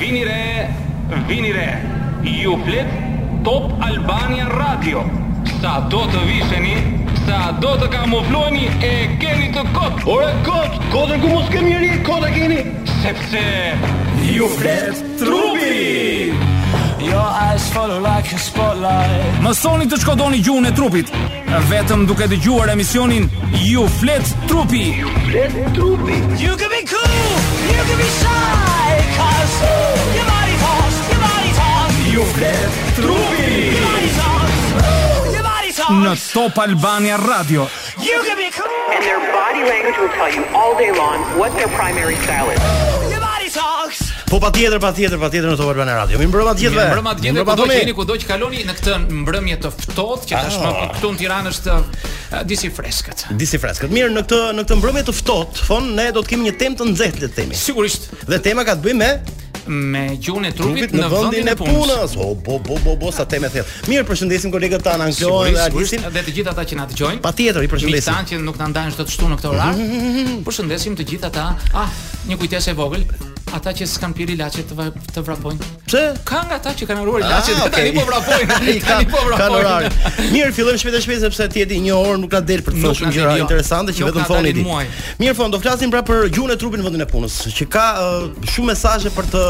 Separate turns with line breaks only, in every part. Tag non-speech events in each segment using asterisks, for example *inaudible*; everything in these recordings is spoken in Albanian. Vini re, vini re. Ju flet Top Albania Radio. Sa do të visheni, sa do të kamufloheni e keni të kot.
Ore kot, kotën ku mos kemi njerë, kota keni.
Sepse
Ju flet trupi.
Your eyes follow Jo, like a spotlight
Mësoni të shkodoni gjuhën e trupit, vetëm duke dëgjuar emisionin Ju flet trupi.
Flet trupi.
You can be cool, you can be shy Cause ooh, your body talks, your body talks
Ju flet trupi.
Your body talks, ooh, your body
Në
talks
Top Albania Radio.
You can be cool,
And their body language will tell you all day long what their primary style is.
your body talks
Po patjetër, patjetër, patjetër në Top Albana Radio. Mi mbrëma të gjithëve.
Mbrëma të gjithë,
Mirëmbrëma,
kudo që
Tomi.
jeni, kudo që kaloni në këtë mbrëmje të ftohtë që tashmë
Ah.
këtu në Tiranë është uh, disi freskët.
Disi freskët. Mirë, në këtë në këtë mbrëmje të ftohtë, fon ne do të kemi një temë të nxehtë le të themi.
Sigurisht
Dhe tema ka të bëjë me
me gjuhën e trupit,
trupit në vendin e punës. O bo bo bo bo sa temë thellë. Mirë, përshëndesim kolegët tanë Anklojën dhe
Sigurisht, sigurisht,
Alisin.
dhe të gjithë ata që na dëgjojnë.
Patjetër, i përshëndesim.
Miqtan që nuk na ndajnë çdo të shtu në këtë
*laughs*
orar. Përshëndesim të gjithë ata. Ah, një kujtesë e vogël. Ata që s'kan pirë ilaçe të, va- të vrapojnë.
Pse?
Ka nga ata që kanë haruar ilaçet,
Ah,
ah, tani
okay.
po vrapojnë.
*laughs* I ka
Tani po
ka në orar.
vrapojnë.
Mirë, fillojmë shpejt e shpejt sepse ti jeti një orë nuk na del për të
Nuk
thosur
na del,
gjëra
jo.
interesante që
Nuk
vetëm
na
thoni
dalin
ti.
muaj.
Mirë, fon do flasim pra për gjuhën e trupit në vendin e punës, që ka ë, shumë mesazhe për të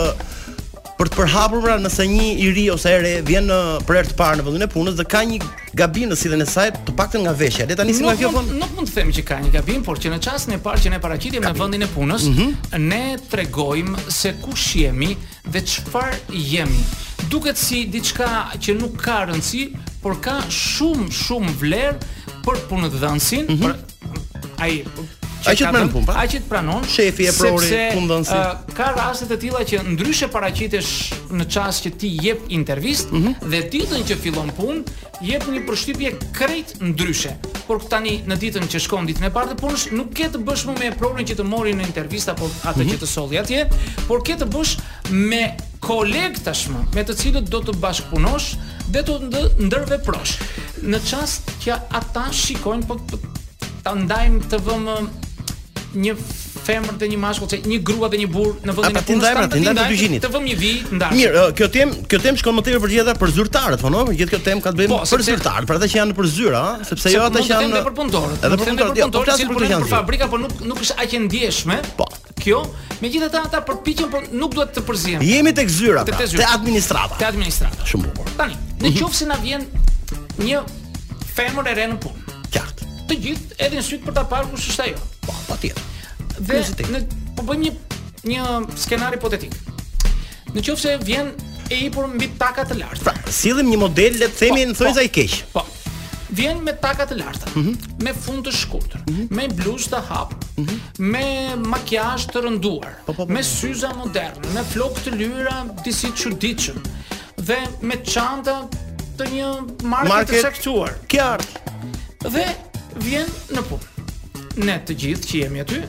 për të përhapur pra nëse një i ri ose e re vjen në- për herë të parë në vendin e punës dhe ka një gabim në sillen e saj, të paktën nga veshja. Le ta nisim nga
Nuk
kjo
mund,
fon.
nuk mund të themi që ka një gabim, por që në çastin e parë që ne paraqitjem në vendin e punës,
Mhm.
ne tregojmë se kush jemi dhe çfarë jemi. Duket si diçka që nuk ka rëndësi, por ka shumë shumë vlerë për punëdhënësin, për ai
Ai që të
ka
pranon
dhënë-
Mhm. punë, pra.
Ai që të pranon.
Shefi e prori,
sepse,
punëdhënësi.
ë, ka raste të tilla që ndryshe paraqitesh në çast që ti jep intervistë
Mhm.
dhe ditën që fillon punë jep një përshtypje krejt ndryshe. Por tani në ditën që shkon ditën e parë të punës nuk ke të bësh më me prorin që të mori në intervistë apo atë
Mhm.
që të solli atje, por ke të bësh me kolegë tashmë, me të cilët do të bashkëpunosh dhe të ndë- ndërveprosh. Në çast që ata shikojnë po po- ta ndajmë të vëmë një femër dhe një mashkull, që një grua dhe një burr në vendin
A,
e
pra, ti
punës
ndaj, pra, ti
ti
ndaj të
ndaj,
dyqinit.
Të vëmë një vi ndarë.
Mirë, ë, kjo temë, kjo temë shkon më tepër për gjithë ata për zyrtarët, po no, gjithë kjo temë ka të bëjë
Po,
për
sepse-
zyrtarët, për ata që janë në për zyra, ëh, sepse jo ata që janë
edhe për punëtorët.
Edhe
mund
për
të them
punëtorët, jo, po
punëtorët,
flasim
cilët
për të që
punojnë
janë
për
zyra.
fabrika, por nuk nuk është aq e ndjeshme.
Po.
Kjo, megjithatë ata përpiqen, por nuk duhet të përzihen.
Jemi tek zyra,
Tek-
pra,
tek zyra.
te administrata.
Te administrata.
Shumë bukur. Mhm.
Tani, në qoftë se na vjen një femër e re në punë,
Qartë.
të gjithë edhe në syt për ta parë kush është ajo.
Po, patjetër.
Dhe
Pozitiv.
në, po bëjmë një një skenar hipotetik. Në qoftë se vjen e hipur mbi taka të lartë.
Pra, sillim një model, le të themi,
Po,
në thonjza
po.
i keq.
Po. Vjen me taka të larta, me fund të shkurtër, me bluzë të hapur, me makijazh të rënduar,
po, po,
me syza moderne, me flokë të lyra disi të çuditshëm dhe me çanta të një marke,
Marke-
të caktuar.
Qartë.
Dhe vjen në punë. Ne të gjithë që jemi aty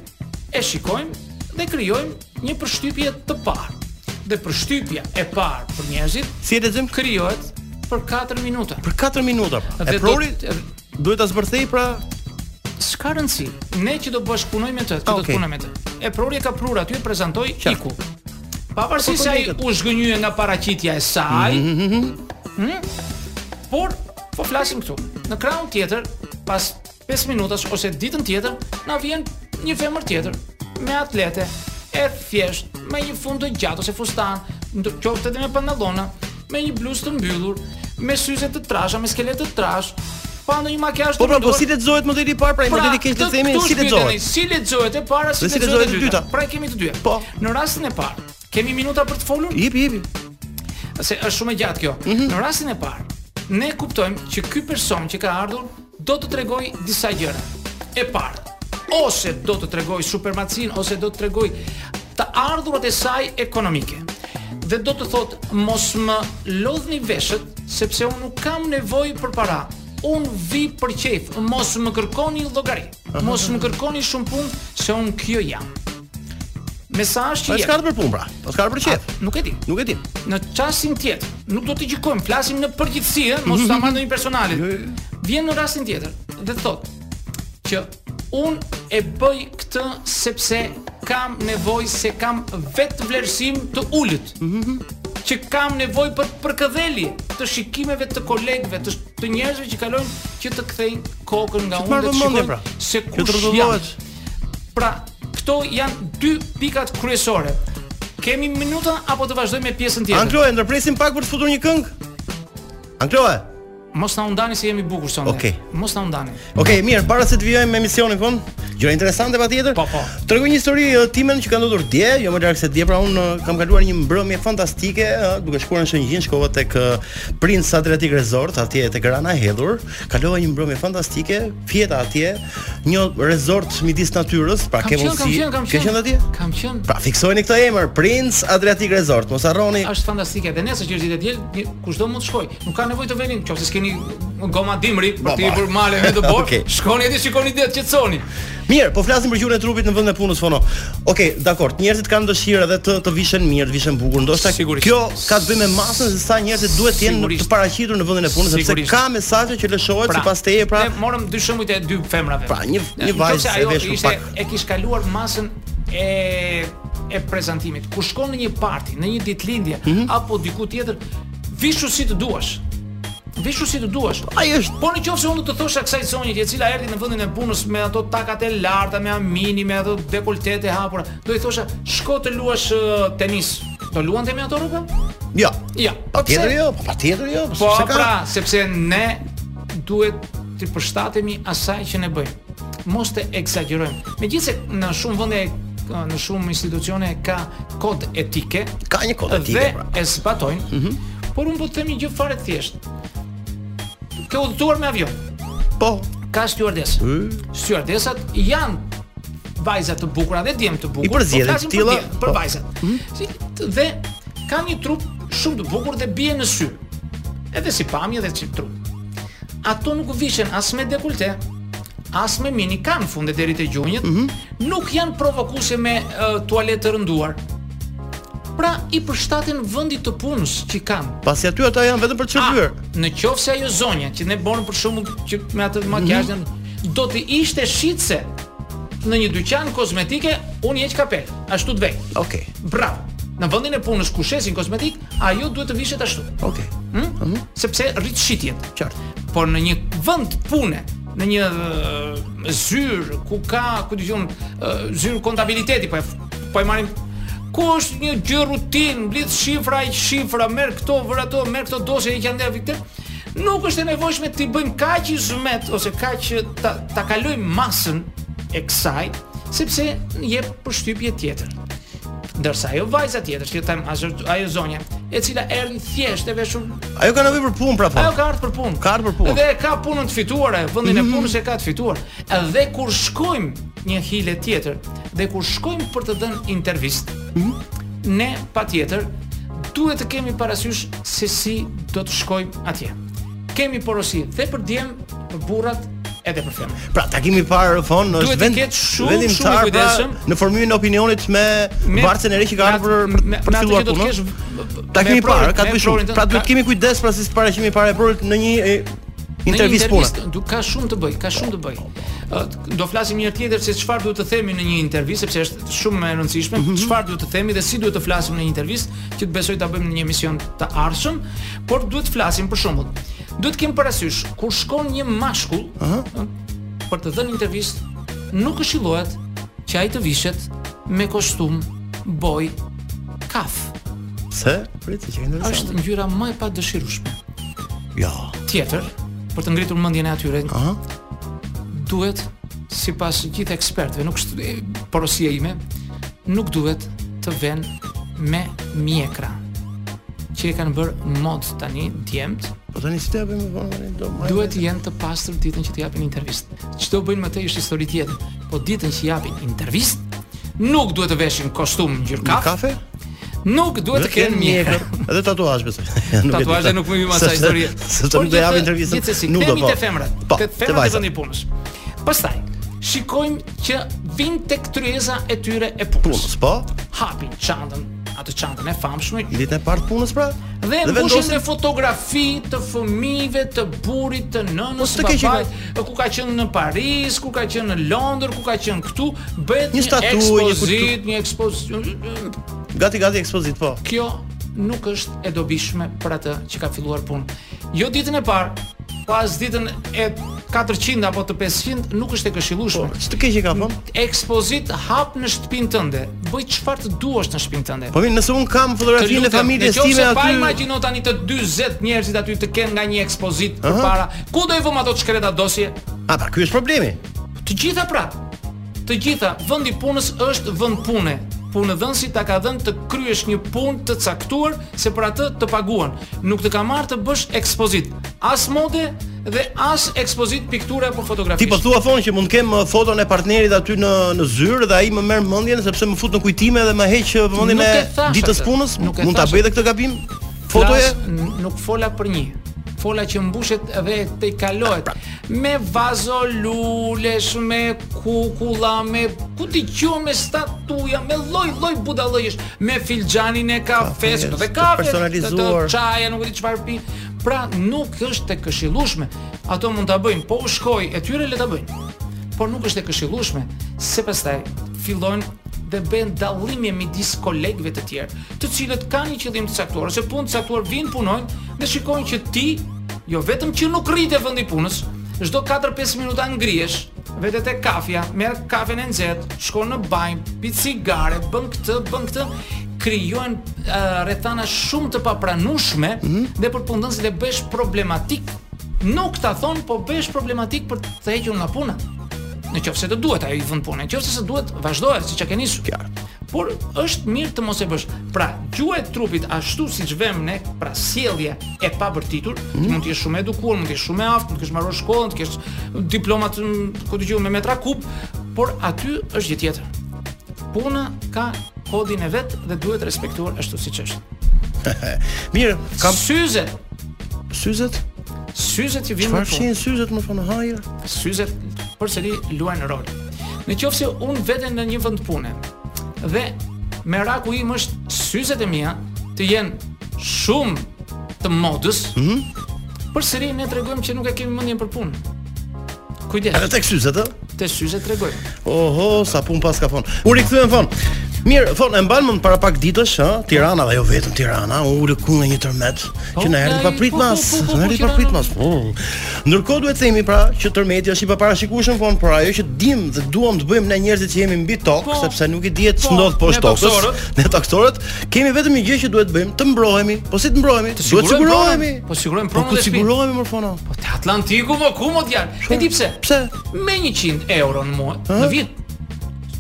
e shikojmë dhe krijojmë një përshtypje të parë. Dhe përshtypja e parë për njerëzit
Si e lexojmë?
krijohet për 4 minuta.
Për 4 minuta. Pra.
Dhe
E
do- Po,
prori duhet ta zbërthej pra
s'ka rëndësi. Ne që do bashkëpunoj me të, që do
Okej.
të punoj me të. E prorje ka prur aty e prezantoi Iku. Pavarësisht
Po, Mhm,
se ai
kolegët.
u zhgënjye nga paraqitja e saj, hm? Por po flasim këtu. Në krahun tjetër, pas 5 minutash ose ditën tjetër, na vjen një femër tjetër me atlete, e thjesht, me një fund të gjatë ose fustan, ndo- qoftë edhe me pantallona, me një bluzë të mbyllur, me syze të trasha, me skelet të trash, pa ndonjë makijazh
Po
të
pra, po
rënduar.
si lexohet modeli i parë, pra i modeli i keq të
këtë-
themi,
këtu
si
shpjegoni,
lexohet?
Si lexohet e para, si
Dhe si
lexohet
lexohet
e
e
dyta.
dyta.
Pra e kemi të dyja.
Po.
Në rastin e parë, kemi minuta për të folur
Jepi, jepi.
se është shumë e gjatë kjo. Në rastin e parë, ne kuptojmë që ky person që ka ardhur do të tregoj disa gjëra. E parë, ose do të tregoj supermacin ose do të tregoj të ardhurat e saj ekonomike. Dhe do të thotë mos më lodhni veshët sepse unë nuk kam nevojë për para. Unë vi për qejf, mos më kërkoni llogari. Mos më kërkoni shumë punë se unë kjo jam. Mesazh që
Po
jep.
s'ka të për punë pra. Po s'ka të për qejf.
Nuk e di
Nuk e di.
në çastin tjetër, nuk do të gjykojmë, flasim në eh,
Jo,
përgjithësi, ëh, mos ta marr ndonjë personale. Vjen në rastin tjetër dhe thot që un e bëj këtë sepse kam nevojë se kam vetë vlerësim të ulët. Që kam nevojë për përkëdhelje të shikimeve të kolegëve, të, të njerëzve që kalojnë që të kthejnë kokën nga unë
marrë
dhe të
vëmendje,
shikojnë
pra.
se
Që të
kush jam.
rrotullohesh.
Pra, këto janë dy pikat kryesore. Kemi minuta apo të vazhdojmë me pjesën tjetër?
Ankloe, ndërpresim pak për të futur një këngë. Ankloe.
Mos na undani se jemi bukur sonte.
Okej.
Mos na undani.
Okej, mirë, para se të vijojmë me misionin ton, gjëra interesante patjetër.
Po, po.
Tregoj një histori e, timen që ka ndodhur dje, jo më larg se dje, pra unë e, kam kaluar një mbrëmje fantastike, e, duke shkuar në Shëngjin, shkova tek e, Prince Adriatic Resort, atje tek Rana e Hedhur, kalova një mbrëmje fantastike, fjeta atje, një resort midis natyrës, pra
Kam
ke
qenë, kam
mundësi.
qenë, kam qenë.
Ke qenë atje?
Kam qenë.
Pra fiksojeni këtë emër, Prince Adriatic Resort, mos harroni.
Është fantastike dhe nesër që është ditë e diel, kushdo mund të shkoj. Nuk ka nevojë të vini, nëse s'keni goma dimri
Ba,
për të
ba.
për male me të bor,
Okej.
shkoni aty shikoni ditë, qetësoni.
Mirë, po flasim për gjuhën e trupit në vendin e punës fono. Okej, dakor. Njerëzit kanë dëshirë edhe të të vishen mirë, të vishen bukur. Ndoshta
Sigurisht.
kjo ka të bëjë me masën se sa njerëzit duhet të jenë në- të
Sigurisht.
paraqitur në vendin e punës, sepse
Sigurisht.
ka mesazhe që lëshohet sipas teje, pra.
Ne morëm dy shembujt e dy femrave.
Pra, një- një
Nëse
vajzë e
ajo
veshur
ishte-
pak.
E kish kaluar masën e e prezantimit. Kur shkon në një parti, në një ditëlindje
Mhm.
apo diku tjetër, vishu si të duash. Vishu si të duash.
Ai është
Po në qofë se unë do të thosha kësaj zonjit e cila erdi në vendin e punës me ato takat e larta, me amini, me ato dekoltete e hapura, do i thosha, shko të luash ë, tenis. Do luante me ato rruga?
jo.
Ja.
Patjetër
Pse?
jo, po patjetër jo.
Po,
sepse ka-
pra, sepse ne duhet të përshtatemi asaj që ne bëjmë. Mos të eksagjerojmë. Megjithse në shumë vende në shumë institucione ka kod etike,
ka një kod etike, pra. Mhm.
dhe e zbatojnë. Por unë po të them një gjë fare të thjeshtë. Ke udhëtuar me avion
Po.
ka stewardesë. Stewardesat janë vajza të bukura dhe djem të bukur.
I përzgjedhin
po flasim
tilla,
për, djem- për
po.
vajzat. Si, t- dhe kanë një trup shumë të bukur dhe bie në sy. Edhe si pamje dhe si trup. Ato nuk vishen as me dekolte, as me mini kanë funde deri te gjunjët,
Mhm.
nuk janë provokuese me uh, tualet të rënduar. Pra i përshtaten vendit të punës që kanë.
Pasi aty ata janë vetëm për të çryer.
A, Në qoftë se ajo zonja që ne borëm për shembull që me atë makiazhin do të ishte shitse në një dyqan kozmetike, unë jeq kapel, ashtu të vej.
Okej.
Bravo. Në vendin e punës ku shesin kozmetik, ajo duhet të vishet ashtu.
Okej.
Hm? Sepse rrit shitjet.
Qartë.
Por në një vend pune, në një eh, zyrë ku ka, ku dëgjon, eh, zyrë kontabiliteti, po e f- po e marrim ku është një gjë rutin, mbledh shifra i shifra, merr këto, vër ato, merr këto dosje i kanë ndër këtë. Nuk është e nevojshme të i bëjmë kaq i zmet ose kaq ta, ta kalojmë masën e kësaj, sepse jep përshtypje tjetër. Ndërsa ajo vajza tjetër, që them ajo ajo zonja, e cila erdhi thjesht e veshur
Ajo ka nevojë për punë pra po.
Ajo ka ardhur për punë.
Ka ardhur për punë. Mhm.
Dhe ka punën të fituar, e, vendin e punës e ka të fituar. Dhe kur shkojmë një hile tjetër, dhe kur shkojmë për të dhënë intervistë,
Mhm.
ne patjetër duhet të kemi parasysh se si do të shkojmë atje. Kemi porosi dhe për djem, për burrat, edhe për femrat.
Pra takimi i parë fon është
Duhet të ketë shumë,
vendimtar,
shumë i
pra,
kujdesshëm.
në formimin e opinionit me, me varcën e re që ka ardhur për për
me-
për
me atë
të filluar
që do të
punën.
kesh v- v-
Takimi
me
i parë
prorin-
ka
me
të bëjë
prorin
shumë. Pra duhet
ka-
të kemi kujdes pra si paraqimi i parë e prorit në një
Në
e,
një
intervistë pune.
du ka shumë të bëj, ka shumë të bëj. Ë, Do flasim një herë tjetër se çfarë duhet të themi në një intervistë sepse është shumë e rëndësishme,
Mhm.
çfarë duhet të themi dhe si duhet të flasim në një intervistë që të besoj ta bëjmë në një emision të ardhshëm, por duhet të flasim për shembull. Duhet të kemi parasysh kur shkon një mashkull ë, për të dhënë intervistë, nuk këshillohet që ai të vishet me kostum boj kaf.
Pse? Prit, që ka interesant.
Është ngjyra më e padëshirueshme.
Jo.
Tjetër, për të ngritur mendjen e atyre, duhet sipas gjithë ekspertëve, nuk është e, porosia ime, nuk duhet të ven me mjekra që e kanë bërë mod tani djemt,
Po tani si të bëjmë vonë tani do. marrim.
duhet të jenë të pastër ditën që të japin intervistë. Çdo bëjnë më tej është histori tjetër, po ditën që japin intervistë, nuk duhet të veshin kostum
Një
ngjyrkaf,
kafe?
nuk duhet të kenë mjekër.
Edhe tatuazh besoj. *laughs* Nuk e di
Tatuazhe
ta-
nuk më vjen asaj
sepse-
histori.
Sepse nuk do jap intervistën.
Gjithsesi,
Nuk do
kthehemi
po.
te femrat.
Po,
Te
te
femrat e
vajzat.
vendi punës. Pastaj, shikojmë që vin tek tryeza e tyre e punës.
Punës, po?
Hapin çantën, atë çantën e famshme
Ditën e parë të punës pra?
dhe mbushin me fotografi të fëmijëve, të burrit, të nënës,
Ose
të
Po, të keqi,
babait, ku ka qenë në Paris, ku ka qenë në Londër, ku ka qenë këtu, bëhet
Një
një,
statuj, një kultur-
ekspozit, një ekspozit.
gati gati ekspozit po.
Kjo nuk është e dobishme për atë që ka filluar punë. Jo ditën e parë, pas ditën e 400 apo të 500 nuk është e
Po,
këshillueshme
ç'të keq e ka thon?
ekspozit hap në shtëpinë tënde. Bëj çfarë të duash në shtëpinë tënde.
Po mirë, nëse un kam
Të
fotografinë e
lutem,
familjes
nëse
time
Pa
aty.
imagjino tani të 40 njerëzit aty të kenë nga një ekspozit
Aha.
përpara. Ku do i vëmë ato çkreta dosje?
A pra, ky është problemi.
Të gjitha pra. Të gjitha vendi i punës është vend pune. Punëdhënësi ta ka dhënë të kryesh një punë të caktuar se për atë të paguan. Nuk të ka marrë të bësh ekspozit, as mode dhe as ekspozit pikture apo
Ti
fotografish.
po thua fon që mund të kem uh, foton e partnerit aty në në zyrë dhe ai më merr mendjen sepse më fut në kujtime dhe më heq uh, vëmendjen
Nuk
e
e thash
ditës
atë.
punës.
Nuk e
Mund ta
thash
bëj edhe këtë gabim? Fotoje?
Flas, n- nuk fola për një. Fola që mbushet dhe te kalohet me vazo lulesh, me kukulla, me ku ti qo, me statuja, me lloj lloj budallësh, me filxhanin e kafes,
Kafes,
do të
të
kafe,
personalizuar.
të çaja, nuk e di çfarë pi. Pra nuk është e këshillueshme. Ato mund ta bëjnë, po u shkoj, e tyre le ta bëjnë. Por nuk është e këshillueshme, se pastaj fillojnë dhe bën dallime midis kolegëve të tjerë, të cilët kanë një qëllim të caktuar ose punë të caktuar vinë punojnë dhe shikojnë që ti jo vetëm që nuk rritë vendi i punës, çdo 4-5 minuta ngrihesh, vetë te kafja, merr kafen e nxehtë, shkon në bajmë, pi cigare, bën këtë, bën këtë, krijohen uh, rrethana shumë të papranueshme dhe për punëdhënësit e bësh problematik. Nuk ta thon, po bësh problematik për të hequr nga puna. Në qoftë se të duhet ai vend punë, në qoftë se duhet vazhdohet siç e ke nisur. Por është mirë të mos e bësh. Pra, gjuha e trupit ashtu siç vëmë ne, pra sjellje e pavërtitur, ti mund të jesh shumë e edukuar, mund të jesh shumë e aftë, mund të kesh marrë shkollën, të kesh diplomat ku dëgjoj me metra kub, por aty është gjë tjetër. Puna ka kodin e vet dhe duhet respektuar ashtu siç është.
Mirë,
Kam
kam
syze,
syzet.
syze që vijnë
Çfarë
në punë.
fshin syzet më fon hajër?
syzet përsëri luajnë rol. Në qoftë se unë veten në një vend pune dhe meraku im është syzet e mia të jenë shumë të modës, mm
Mhm.
përsëri ne tregojmë që nuk e kemi mendjen për punë.
Edhe
Kujdes,
tek syzet, ë?
te syzet tregojmë.
Oho, Po, sa pun pas ka fon. U rikthyem fon. Mirë, fon e mban mend para pak ditësh, ha, Tirana dhe jo vetëm Tirana, u ule ku nga një tërmet që na erdhi
ai,
pa
po,
pritmas,
po, po, po,
na erdhi
po,
pa
Tirana.
pritmas. Mm. Ndërkohë duhet të themi pra që tërmeti është i paparashikueshëm fon, por ajo që dim dhe duam të bëjmë ne njerëzit që jemi mbi tokë,
Po,
sepse nuk i dihet
po,
ç'ndodh
ne
poshtë tokës.
toksorët.
Ne taktorët kemi vetëm një gjë që duhet bëjmë, të mbrohemi. Po si të mbrohemi? Duhet
sigurojmë
sigurohemi.
pronën, po sigurojmë
Po
pronën
ku
dhe shtëpinë.
sigurohemi më fona?
Po te Atlantiku më ku më djalë. E di pse?
Pse?
Me 100 euro në muaj, në vit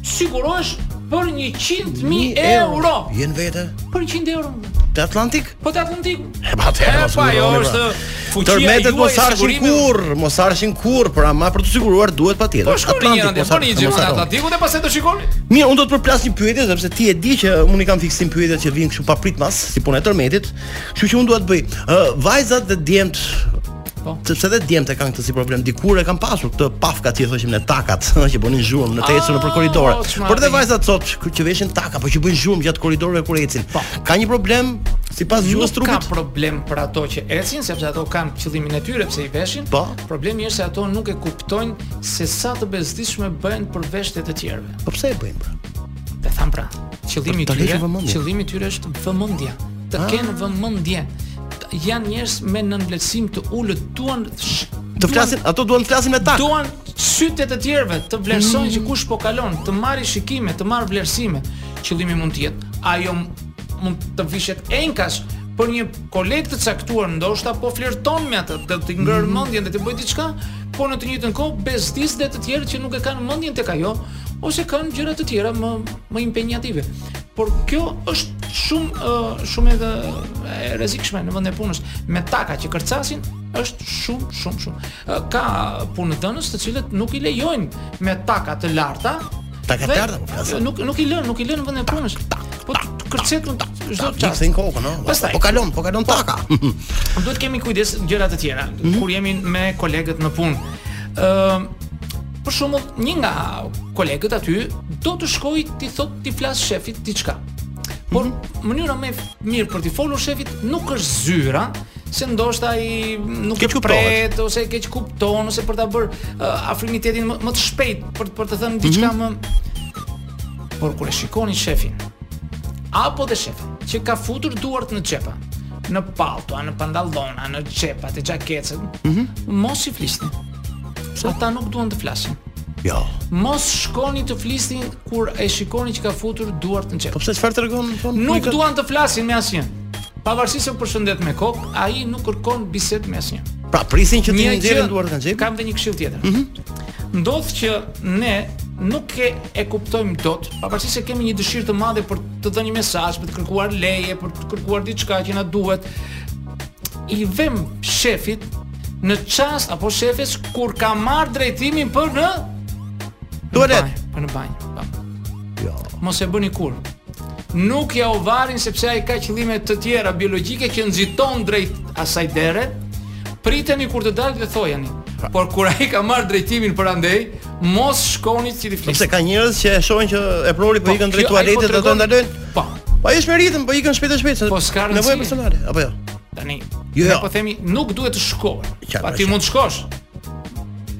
sigurohesh për 100.000 euro.
Jen vete
Për 100 euro.
te Atlantik?
Po te Atlantiku.
E pa atëherë
E
mos
pa
më
jo
ndoni, pra.
është fuqia
Tërmetet
juaj
mos
e
arshin
sigurimit.
kur, mos arshin kur, por ama për të siguruar duhet patjetër.
Po shkoni një randë,
mos ar-
bëni një
mos
gjëra në
harron.
Atlantikun dhe pastaj do shikoni.
Mirë, unë do të përplas një pyetje sepse ti e di që unë i kam fiksim pyetjet që vijnë kështu pa pritmas, si puna e tërmetit. Kështu që unë dua të bëj uh, vajzat dhe djemt
Po.
Sepse edhe djemt e kanë këtë si problem. Dikur e kanë pasur këtë pafka që i thoshim ne takat, *laughs* që bënin zhurmë në të ecur nëpër koridore.
Ah, o, çmati.
Por edhe vajzat sot që- që veshin taka, po që bëjnë zhurmë gjatë koridorëve kur ecin. Ka një problem sipas gjuhës
Po. Nuk ka
trupit?
problem për ato që ecin, sepse ato kanë qëllimin e tyre pse i veshin.
Po.
Problemi është se ato nuk e kuptojnë se sa të bezdishme bëhen për veshjet e tjerëve.
Po pse e bëjnë pra?
Dhe tham pra, qëllimi i
Për të
tyre,
rreshë vëmendje. Ah.
qëllimi i tyre është vëmendja, të kenë vëmendje. Janë njerëz me nënvlerësim të ulët, duan sh-
Të
duan-
flasin, ato duan të flasin me tak.
duan sytë të tjerëve të vlerësojnë që kush po kalon, të marrë shikime, të marrë vlerësime. Qëllimi mund të jetë ajo m- mund të vishet enkash për një koleg të caktuar, ndoshta po flirton me atë, do të ngrër mendjen dhe të bëj diçka, por në të njëjtën kohë bezdis dhe të tjerë që nuk e kanë mendjen tek ajo ose kanë gjëra të tjera më më impenjative. Por kjo është shumë ë, shumë edhe e rrezikshme në vendin e punës. Me taka që kërcasin është shumë shumë shumë. Ë, Ka punëdhënës të cilët nuk i lejojnë me taka të larta.
Taka të
dhe-
larta, po flasim.
Nuk nuk i lën, nuk i lën në vendin e punës. Po kërcet çdo
Ta,
çast.
Iksin kokën, no?
Pastaj.
Po kalon, po kalon taka.
Duhet kemi kujdes gjëra të tjera
Mhm.
kur jemi me kolegët në punë. Ëm Ehm, për shembull, një nga kolegët aty do të shkojë ti thot ti flas shefit diçka. por mënyra më e f- mirë për t'i folur shefit nuk është zyra, se ndoshta ai nuk
Keq
e
kuptohet.
pret ose e keq kupton ose për ta bërë uh, afrimitetin më, më të shpejt për për të thënë diçka më por kur e shikoni shefin apo dhe shefin që ka futur duart në xhepa në palltoa, në pantallona, në xhepa, të xhaketës. Mos i flisni. Ata nuk duan të flasin.
*laughs* Jo.
Mos shkoni të flisni kur e shikoni që ka futur duart në
Po
xhep.
pse çfarë tregon thonë?
Nuk
komunika-
duan të flasin me asnjë. Pavarësisht se u përshëndet me kokë, ai nuk kërkon bisedë me asnjë.
Pra prisin që ti
Një
nxjerrin duart nga xhepi. Mhm.
Kam dhe një këshill tjetër. Ndodh që ne nuk e, e kuptojmë dot, pavarësisht se kemi një dëshirë të madhe për të dhënë një mesazh, për të kërkuar leje, për të kërkuar diçka që na duhet. I vëm shefit në çast apo shefes kur ka marr drejtimin për në
Tualet.
banjë, për në banjë. Po
Jo.
mos e bëni kur. Nuk ja u varin sepse ai ka qëllime të tjera biologjike që nxiton drejt asaj dere. Priteni kur të dalë dhe thojani. Por kur ai ka marr drejtimin për andej, mos shkoni që ti
Sepse
flisni.
ka njerëz që e shohin që e prori po ikën drejt tualetit dhe ato ndalojnë.
Po,
Po ajo është me ritëm, po ikën shpejt e shpejt. se
Po s'ka rëndësi.
Nevoja personale, apo jo?
tani.
Jo,
ne
jo.
po themi nuk duhet të shkosh.
Qartë,
Pa ti
qartë.
mund të shkosh.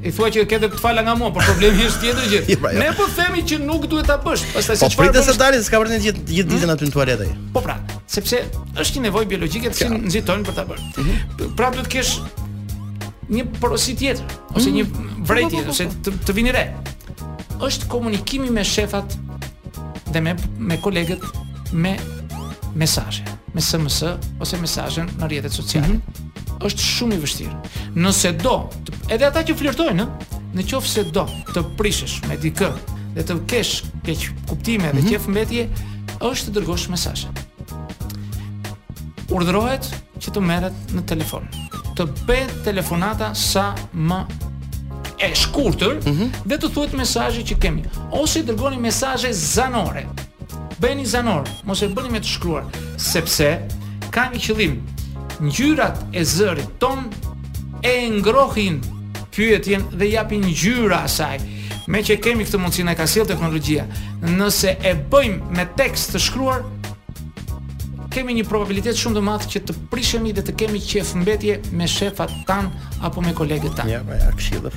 I thua që ke të fala nga mua, por problemi është tjetër
*laughs*
gjë.
Jo, pra, jo.
Ne po themi që nuk duhet ta bësh. Pastaj
Po
se çfarë
pritet se
bësh-
dalin, s'ka vërtet gjithë gjithë ditën aty në tualet ai.
Po pra, sepse është një nevojë biologjike të cilën nxitojnë për ta bërë. Pra duhet të kesh një porosi tjetër ose një vrejtje ose të, të vini re. Është komunikimi me shefat dhe me me kolegët me mesazhe, me SMS ose mesazhe në rrjetet sociale. Është shumë i vështirë. Nëse do, të, edhe ata që flirtojnë, ë, në qoftë se do të prishesh me dikë dhe të kesh keq kuptime dhe qef mbetje, është të dërgosh mesazhe urdhërohet që të merret në telefon. Të bëhet telefonata sa më e shkurtër dhe të thuhet mesazhi që kemi ose dërgoni mesazhe zanore. Bëni zanor, mos e bëni me të shkruar, sepse ka një qëllim. Ngjyrat e zërit ton e ngrohin pyetjen dhe japin ngjyra asaj. Me që kemi këtë mundësinë e ka sjell teknologjia, nëse e bëjmë me tekst të shkruar, kemi një probabilitet shumë të madh që të prishemi dhe të kemi qef mbetje me shefat tan apo me kolegët tan.
Ja, pra, ja, këshillë.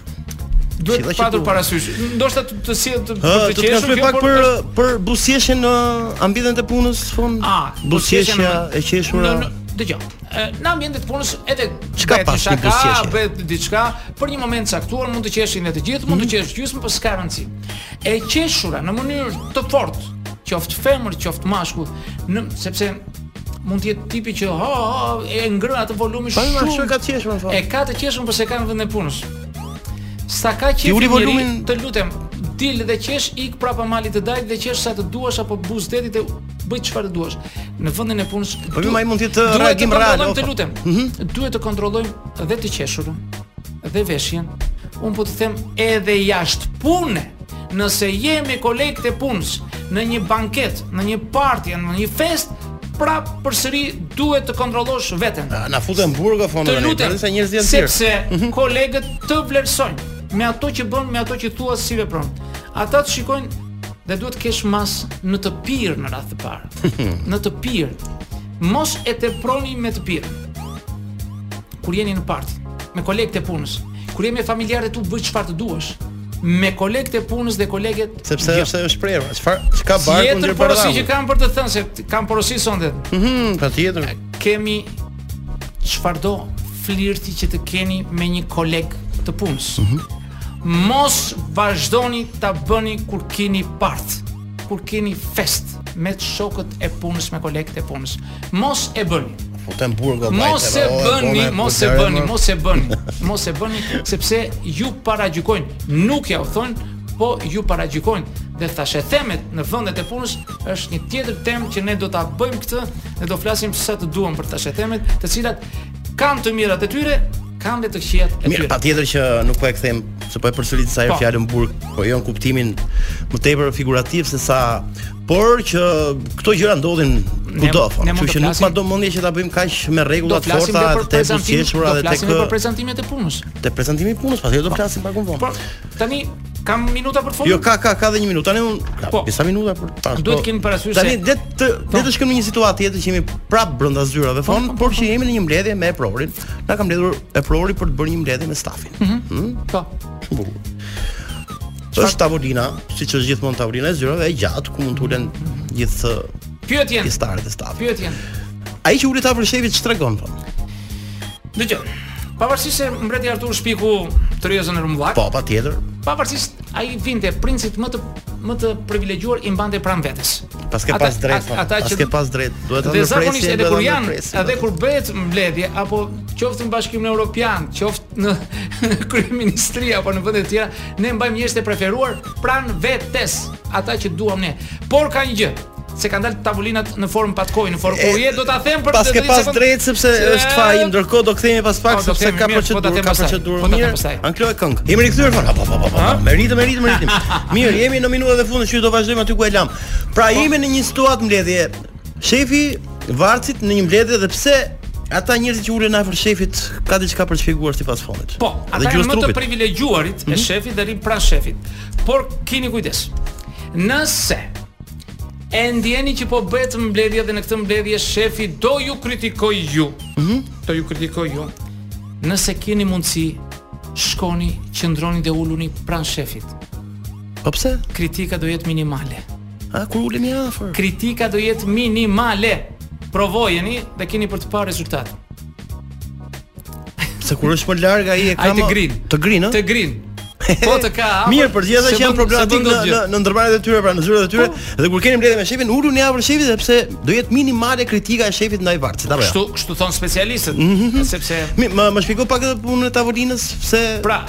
Duhet
qilla
të
që
patur
tu-
parasysh. Ndoshta të të sjell të, të
Ë, do të
qeshur
flasë
kjo,
pak
por
për
është-
për buzëqeshjen në ambientin e punës fon.
po- Ah,
buzëqeshja
buzëqeshja
e qeshura.
Në- në- Dëgjoj. ë, Në ambientet punës edhe
Çka
bëhet
pas
një
një
shaka,
buzëqeshje?
bëhet diçka, për një moment caktuar mund të qeshin edhe të gjithë, mund
Mhm.
të qesh gjysmë, por s'ka rëndësi. E qeshura në mënyrë të fortë, qoftë femër, qoftë mashkull, në sepse mund të jetë tipi që ha, ha e ngrën atë volumin
Po më
shumë.
shumë ka të qeshur në
E
fakt.
ka të qeshën por se ka në vendin e punës. Sa ka qesh
uli
njëri,
volumin-
të lutem, dil dhe qesh ik prapa malit të dajt dhe qesh sa të duash apo buz detit e bëj çfarë të duash. Në vendin e punës.
Po
du-
më ai mund të jetë
duhet
reagim
të
real,
kontrollojmë,
opa. Mhm.
Të lutem. Duhet të kontrollojmë dhe të qeshurën dhe veshjen. Un po të them edhe jashtë pune. Nëse je me kolegët e punës në një banket, në një party, në një fest, prap përsëri duhet të kontrollosh veten.
A, Na futën burg fon.
Të
tani,
lutem,
përse njerëzit janë të tjerë. Mhm.
sepse kolegët të vlerësojnë me ato që bën, me ato që thua si vepron. Ata të shikojnë dhe duhet të kesh mas në të pirë në radhë të
*laughs*
parë. në të pirë. Mos e teproni me të pirë. Kur jeni në parti, me kolegët e punës, kur jemi me familjarët tu bëj çfarë të duash. Me kolegët e punës dhe kolegët
Sepse
Jo.
është është prerë. Çfarë çka barku
tjetër
ndër
porosi që
bardhaku.
kam për të thënë se kam porosi sonde.
Mhm, patjetër.
kemi çfarëdo flirti që të keni me një koleg të punës. Mos vazhdoni ta bëni kur keni part, kur keni fest me të shokët e punës, me kolegët e punës. Mos e bëni.
Futën burg vllai.
Mos e bëni, mos
po
e bëni, mos e bëni, mos e bëni sepse ju paragjykojnë, nuk ja u thon, po ju paragjykojnë dhe thash e themet në vendet e punës është një tjetër temë që ne do ta bëjmë këtë dhe do flasim sa të duam për tash e themet, të cilat kanë të mirat e tyre, kanë dhe të këqijat e
Mirë,
tyre.
patjetër që nuk po e kthem, se po e përsërit sa herë
Po.
fjalën burg, po jo në kuptimin më tepër figurativ se sa por që këto gjëra ndodhin kudo,
Ne-
fon.
ne mund
Kështu
të
që nuk
flasim-
ma do mendje që ta bëjmë kaq me rregulla
Do
të
flasim
forta,
dhe për
të
prezantimin,
buzëqeshura
do
dhe tek
flasim dhe për prezantimet e punës. Po.
te prezantimi i punës, pastaj do të flasim pak më vonë.
Por tani Kam minuta për të folur?
Jo, ka ka ka edhe një minutë. Tani un ka
Po.
disa minuta për tash.
Duhet
po-
keni parasysh
Tani
se- Po.
le të le të shkojmë në një situatë tjetër që jemi prap brenda zyrave fon, por që jemi në një mbledhje me Eprorin. Na ka mbledhur Eprori për të bërë një mbledhje me stafin.
Po.
Shumë bukur. Është tavolina, siç është gjithmonë tavolina e zyrave e gjatë ku mund të ulen gjithë ë,
Pyetjen.
pjesëtarët e stafit.
Pyetjen.
Ai që uli tafër shefit ç'tregon po.
Dëgjoj. Pavarësisht se mbreti Artur Shpiku Terezën e Rumbullak,
Po, patjetër,
pavarësisht ai vinte princit më të më të privilegjuar i mbante pranë vetes.
pas ke
Ata-
pas drejt.
at-
po,
ata
Pas
që-
ke pas drejt. Duhet ta
Dhe
ndërpresin.
zakonisht edhe
duhet ta
kur janë,
ndërpresin,
edhe
po.
kur bëhet mbledhje apo qoftë në Bashkimin Evropian, qoftë në *laughs* kryeministri apo në vende të tjera, ne mbajmë njerëz të preferuar pran vetes, ata që duam ne. Por ka një gjë, se kanë dalë tavolinat në formë patkoj, në formë
E,
kurje, do ta them për
Pas ke
30
pas
sekundë.
drejt sepse
Se-
është faji, ndërkohë do kthehemi pas pak
Po, do
sepse
kthehemi,
ka
mirë, po ta
procedurë,
them
ka
pastaj, po
procedurë
ta them
mirë.
pastaj.
Anklo e këngë. Jemi rikthyer fort. Po po po po. Me ritëm, me ritëm, me
*laughs*
ritëm. Mirë, jemi në minutën e fundit që do vazhdojmë aty ku e lam.
Po.
Pra jemi në një situatë mbledhje. Shefi Varcit në një mbledhje dhe pse ata njerëzit që ulen afër shefit ka diçka për të shpjeguar sipas fondit.
Po,
Dhe
ata
gjuhës
janë më të
trupit. Mhm.
privilegjuarit e shefit dhe rinë pranë shefit. Por keni kujdes. Nëse e ndjeni që po bëhet mbledhje dhe në këtë mbledhje shefi do ju kritikoj ju.
Mhm.
Do ju kritikoj ju. Nëse keni mundësi, shkoni, qëndroni dhe uluni pranë shefit.
Po pse?
Kritika do jetë minimale.
A kur ulemi afër?
Kritika do jetë minimale. Provojeni dhe keni për të parë rezultat.
Se kur është më larg ai e ka
Ai të
më-
grin.
Të grin, ë?
Të grin.
*laughs*
Po të ka. hapur,
Mirë, për gjithë ata
se
që janë
bën- se
problematik
bën
në
dot gjë. Po.
në, në ndërmarrjet e tyre, pra në zyrat e tyre, dhe kur keni mbledhje me shefin, ulun javën shefit sepse do jetë minimale kritika e shefit ndaj vartësit apo jo.
Kështu, kështu thon specialistët, sepse
Mi- Më më shpjegoj pak edhe punën e tavolinës, pse
pra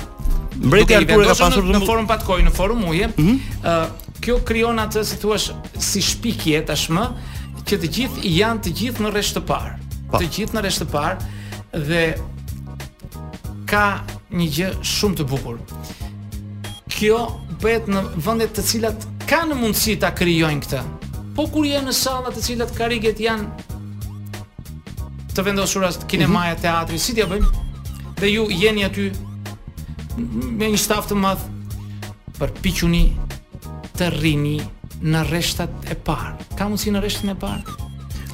mbreti
duke i
Artur e ka
vendosur
pasur Mhm.
në, në formë patkoj, në formë uje, ë kjo krijon atë si thua si shpikje tashmë që të gjithë janë të gjithë në rresht të parë.
Pa.
Të gjithë në rresht të parë dhe ka një gjë shumë të bukur. Kjo bëhet në vende të cilat kanë mundësi ta krijojnë këtë. Po kur je në salla të cilat kariget janë të vendosura kinemaja,
Mhm.
teatri, si t'ja bëjmë? Dhe ju jeni aty me një staf të madh për piquni të rini në rreshtat e parë. Ka mundsi në rreshtin e parë.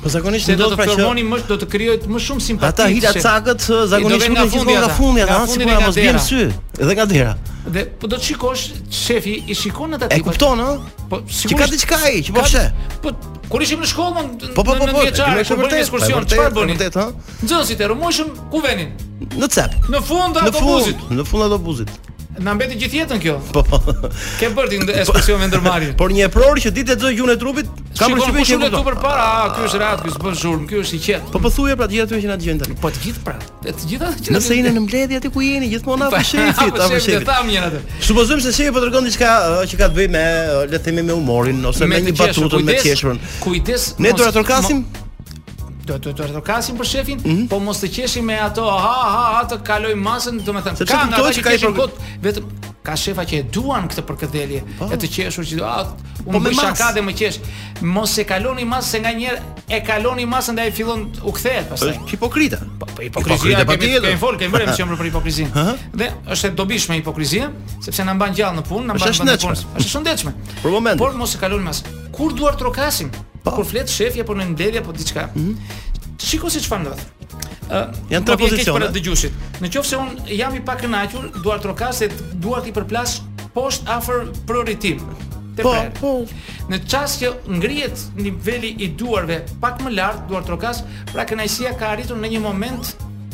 Po zakonisht
Se do
ndodh
të
pra
formoni
që
më do të krijohet më shumë simpati.
ata hila
se-
cakët ë, zakonisht
vjen
nuk
nga
e gjithmonë
fundi
nga
ata.
fundi
Nga
ata,
fundi
sikur
dhe
na
nga
mos vjen
dera.
sy, edhe nga dera.
Dhe po do të shikosh shefi i shikon atë
E
tipat.
kupton, ë?
Po
Që
sigurisht.
ka diçka ai, që po
ka-
fshe.
Po kur ishim në shkollë, në-
Po po po
në
po.
vjeçare, kur bënim ekskursion, çfarë bënin?
Vërtet, ha?
Nxënësit e rëmojshëm ku venin?
Në cep.
Në fund të
Në fund,
autobusit.
në fund të autobusit.
Na mbeti gjithë jetën kjo.
Po po. *laughs*
Ke bërë ti ekskursion me ndërmarrje.
Por një epror që ditë xhoj gjunën e trupit, ka
Shikon
përshtypjen
kush
që e
ulet tu
kupton.
përpara, a ky është rat, ky s'bën zhurmë, ky është i qetë.
Po po thuje pra të gjitha atyre që na dëgjojnë tani.
Po të gjithë pra. E Të gjitha të gjitha. po
Nëse jeni
*laughs*
në mbledhje aty ku jeni, gjithmonë afër shefit,
apo
afër
shefit.
shefit.
Ta mirë atë.
Supozojmë se shefi po tregon diçka ë, që ka të bëjë me, ë, le të themi me humorin ose me
të
një
qeshur,
batutën, me
kujdes,
qeshurën.
Kujdes.
Ne
mos-
do të torkasim
mo- Do do do torkasim për shefin,
Mhm.
po mos të qeshim me ato ha ha ha të kaloj masën, domethënë.
Sepse
nga
kuptohet
ata
që ka i
qeshin
përg-
kot, vetëm ka shefa që e duan këtë për këtë delje, e të qeshur që a
Po
unë
me
bëj shaka
masë.
dhe më qesh. Mos e kaloni masën se nganjëherë e kaloni masën dhe ai fillon u kthehet pastaj.
është hipokrita.
Po po, hipokrizia
Hipokrite
kemi kemi
patjetër.
kemi fol, kemi
*laughs*
vënë çemër për hipokrizinë. Dhe është e dobishme hipokrizia, sepse na mban gjallë në punë, na
Është
mban
e
vend në
shëndetshme.
punë. Është e shëndetshme.
*laughs* Për momentin. Po.
Por mos e kalon mas. Kur duar trokasim, kur flet shefi apo në mbledhje apo diçka. Shiko se çfarë ndodh. Ë,
Mhm. Janë tre
më vjen keq
pozicione.
Për dëgjuesit. Në qoftë se un jam i pakënaqur, duar trokas se duart i përplas poshtë afër prioritim. Te pra-
Po,
prerë.
po.
Në çast që ngrihet niveli i duarve pak më lart, duar trokas, pra kënaqësia ka arritur në një moment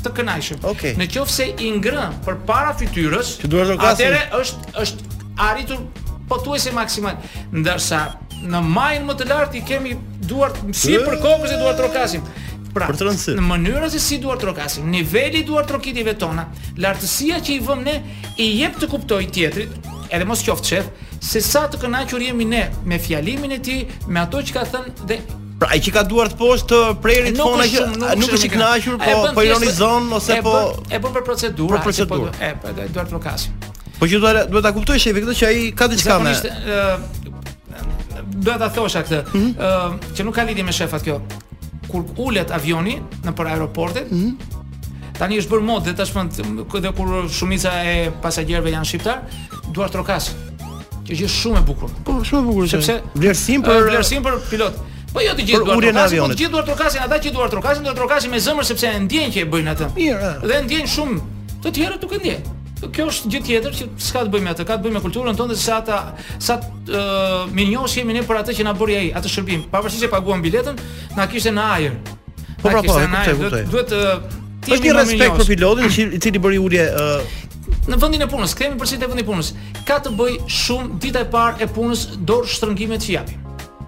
të kënaqshëm.
Okej.
Në qoftë se i ngrën përpara fytyrës,
Që duar trokasin-
atëherë është është arritur pothuajse maksimal, ndërsa në majën më të lartë i kemi duart si për kokës e duar trokasim. Pra,
Për të rënë sy.
në mënyrën se si duar trokasim, niveli i duar trokitive tona, lartësia që i vëm ne i jep të kuptoj tjetrit, edhe mos qoftë shef, se sa të kënaqur jemi ne me fjalimin e tij, me ato që ka thënë dhe
Pra ai që ka duart poshtë prerit
nuk
fona
është
që
shumë,
a, nuk është i
shumë
kënaqur,
E
po
bën
po
thjesht-
ironizon ose
e
po
bën- e bën për procedurë,
Për
a, se
procedurë.
po- e po duar trokasim.
po që duhet duhet ta kuptoj shefi këtë që ai ka diçka me.
Zakonisht ë do ta thosha këtë, ë që nuk ka lidhje me shefat kjo. Kur ulet avioni në për aeroportet, tani është bërë modë dhe tashmë t- m- dhe kur shumica e pasagjerëve janë shqiptar, duar trokas. që është shumë e bukur.
Po, shumë e bukur. është.
Sepse
vlerësim për
Ë, vlerësim për pilot. Po jo të gjithë
për
duart
uljen e
trokasin, po
avionit.
të gjithë duart trokasin, ata që duart trokasin, duart trokasin me zemër sepse e ndjen që e bëjnë atë.
Mirë, ë.
Dhe e ndjen shumë. Të tjerët nuk e ndjen. Kjo është gjë tjetër që s'ka të bëjë me atë, ka të bëjë me kulturën tonë dhe sa ata sa uh, mirënjohës jemi ne për atë që na bëri ai, atë shërbim. Pavarësisht se paguam biletën, na kishte në ajër. Na
Po, pra, po,
kishte
e
në
kuptoj,
ajër.
kuptoj.
Duhet- Duhet ë, të
është
jemi
një
më
respekt për
mirënjohës.
pilotin që- i cili bëri ulje uh, ë,
Në vendin e punës, kthehemi përsëri te vendi i punës. Ka të bëj shumë dita e parë e punës dorë shtrëngimet që japim.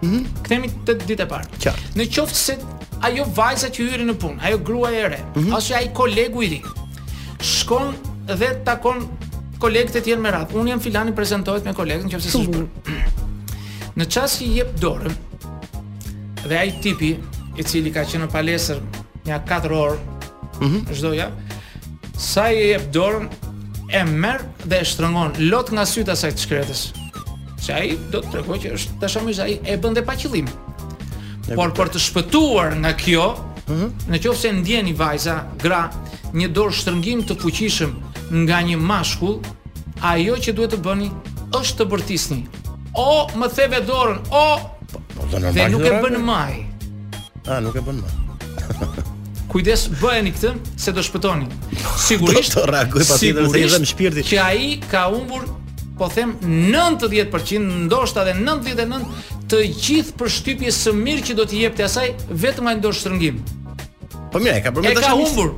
Mhm. Kthehemi te dita e parë.
Qartë.
Në qoftë se ajo vajza që hyri në punë, ajo gruaja e re, ose ai kolegu i ri, shkon dhe takon kolegët e tjerë me radhë. Unë jam filani prezantohet me kolegën nëse s'është bërë. *clears throat* Në çast që i jep dorën dhe ai tipi i cili ka qenë në palestër nja 4 orë çdo javë, sa i jep dorën e merr dhe e shtrëngon lot nga sytë asaj të shkretës. Se ai do të tregoj që është dashamirë se ai e bën dhe pa qëllim. Por për të shpëtuar nga kjo,
Mhm.
në qoftë se ndjeni vajza, gra, një dorë shtrëngim të fuqishëm nga një mashkull, ajo që duhet të bëni është të bërtisni. O më theve dorën, o
po do normal.
dhe nuk e
gjëra,
bën
ë.
maj.
A, nuk e bën më.
Kujdes bëheni këtë se do shpëtoni. Sigurisht.
Do të reagoj pas tjetër se i
sigurisht
dhem shpirti.
Që ai ka humbur po them 90% ndoshta dhe 99 të gjithë përshtypjes së mirë që do t'i jepte asaj vetëm ai dorë shtrëngim.
Po mirë, e ka bërë me
E ka
dashuri.
humbur.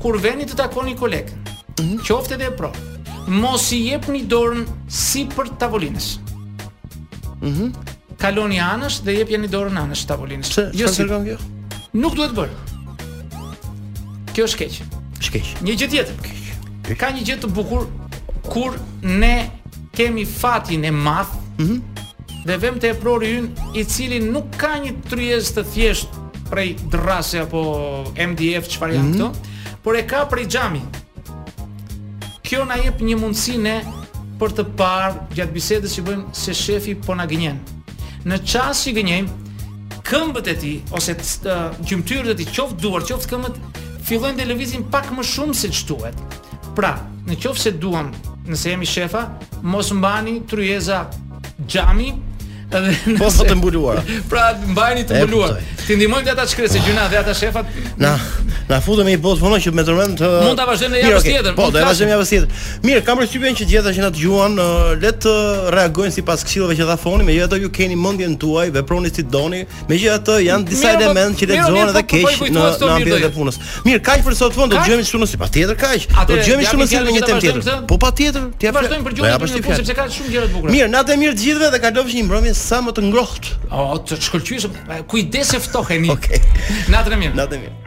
Kur veni të takoni koleg, qoftë edhe e pro, mos i jepni dorën sipër tavolinës. Mhm. Kaloni anësh dhe jepjeni dorën anësh të tavolinës.
Pse?
Jo
Jo
sipër.
kërkon kjo?
Nuk duhet bërë. Kjo është keq.
Shkeq.
Një gjë tjetër. Ka një gjë të bukur kur ne kemi fatin e madh, dhe vëm te prori ynë i cili nuk ka një tryezë të thjesht prej drase apo MDF çfarë janë këto, por e ka prej xhami. Kjo na jep një mundësi ne për të parë gjatë bisedës që bëjmë se shefi po na gënjen. Në çast që gënjejmë, këmbët e tij ose t- t- gjymtyrët e tij, qoftë duart, qoftë këmbët, fillojnë të lëvizin pak më shumë se ç'duhet. Pra, në qoftë se duam, nëse jemi shefa, mos mbani tryeza xhami dhe
Po
nëse-
sot e
*laughs*
mbuluara.
Pra mbajini të
E
mbuluar.
kuptoj.
Ti ndihmojmë dhe ata shkresë se gjuna dhe ata shefat.
Na, na futëm i botë punon që me tërmend të
Mund ta vazhdojmë në
Mirë,
javës
okay,
tjetër,
Po,
mund
do e
flasim.
vazhdojmë javës tjetër. Mirë, kam përshtypjen që të gjitha që na dëgjuan, ë, le të reagojnë sipas këshillave që dha foni, megjithatë ju keni mendjen tuaj, veproni si doni. Megjithatë janë disa
Mirë, po,
elementë që
mirë, mirë,
lexohen edhe
po, po, po, i
keq
kujtohet
në
këto
në
mirë
ambientin
do
e punës. Mirë, kaq për sot vonë, do
Kaq?
dëgjojmë shtunën si patjetër kaq. Do
Atëre,
dëgjojmë
japim
shtunën si
fjalën
me
që
një
ta
temë
vazhdojmë
tjetër.
këtë?
Po patjetër, t'ia
Vazhdojmë për gjuna
po,
në fund sepse ka shumë gjëra të bukura.
Mirë, natë e mirë të gjithëve dhe kalofshi një mbrëmje sa më të ngrohtë.
O, të shkëlqyeshëm. Kujdes Po, e ftoheni.
Okej.
Natën e mirë.
Natë e mirë.